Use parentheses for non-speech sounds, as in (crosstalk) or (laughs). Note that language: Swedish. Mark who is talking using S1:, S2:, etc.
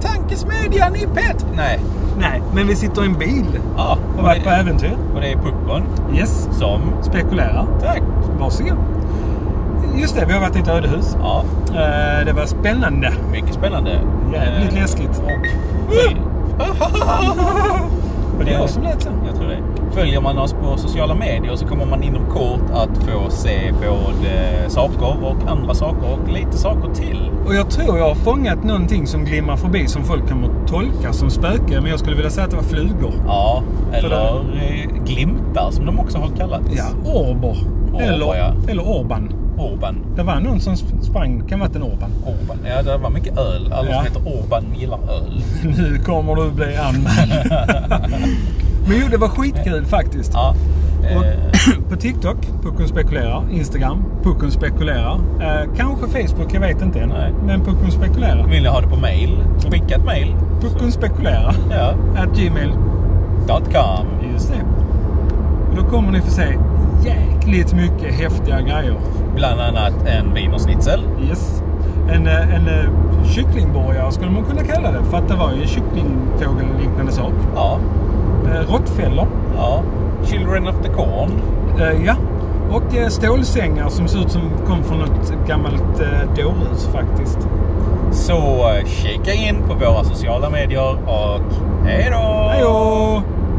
S1: Tankesmedjan i Pet... Nej.
S2: Nej, men vi sitter i en bil
S1: Ja.
S2: och varit på
S1: det,
S2: äventyr.
S1: och det är Puckon
S2: Yes.
S1: som...
S2: Spekulerar.
S1: Tack.
S2: Varsågod. Just det, vi har varit i ett ödehus.
S1: Ja,
S2: Eh, Det var spännande.
S1: mycket spännande.
S2: Jävligt
S1: Eh,
S2: läskigt.
S1: Och följ...
S2: Var det jag som lät så?
S1: Jag tror det. Följer man oss på sociala medier så kommer man inom kort att få se både saker och andra saker och lite saker till.
S2: Och jag tror jag har fångat någonting som glimmar förbi som folk kommer tolka som spöke. Men jag skulle vilja säga att det var flugor.
S1: Ja, eller
S2: För
S1: eh, glimtar som de också har kallats.
S2: Orber. eller,
S1: ja.
S2: eller Orban.
S1: Orban.
S2: Det var någon som sp- sprang. Kan ha varit en Orban. (laughs)
S1: Orban. Ja, det var mycket öl. Alla
S2: Ja.
S1: som heter Orban gillar öl.
S2: Nu kommer du bli (laughs) anmäld. Men jo, det var skitkul faktiskt.
S1: Ja. Eh,
S2: Och (clears throat) på TikTok, Puckon spekulerar. Instagram, Puckon spekulerar. Eh, kanske Facebook, jag vet inte än.
S1: Nej.
S2: Men Puckon spekulerar.
S1: vill ni ha det på mail? Skicka ett mail.
S2: Puckon spekulerar.
S1: Ja.
S2: At gmail.
S1: Dot com.
S2: Just det. Och Då kommer ni få se jäkligt mycket häftiga grejer.
S1: Bland annat en wienerschnitzel.
S2: Yes. En, eh, en eh, kycklingborgare skulle man kunna kalla det. För att det var ju en kycklingfågel-liknande sak.
S1: Ja.
S2: Eh, Råttfällor.
S1: ja. Children of the Corn.
S2: Eh, ja. Och eh, stålsängar som ser ut som kom från något gammalt eh, dårhus faktiskt.
S1: Så eh, kika in på våra sociala medier och hej då!
S2: Hej då!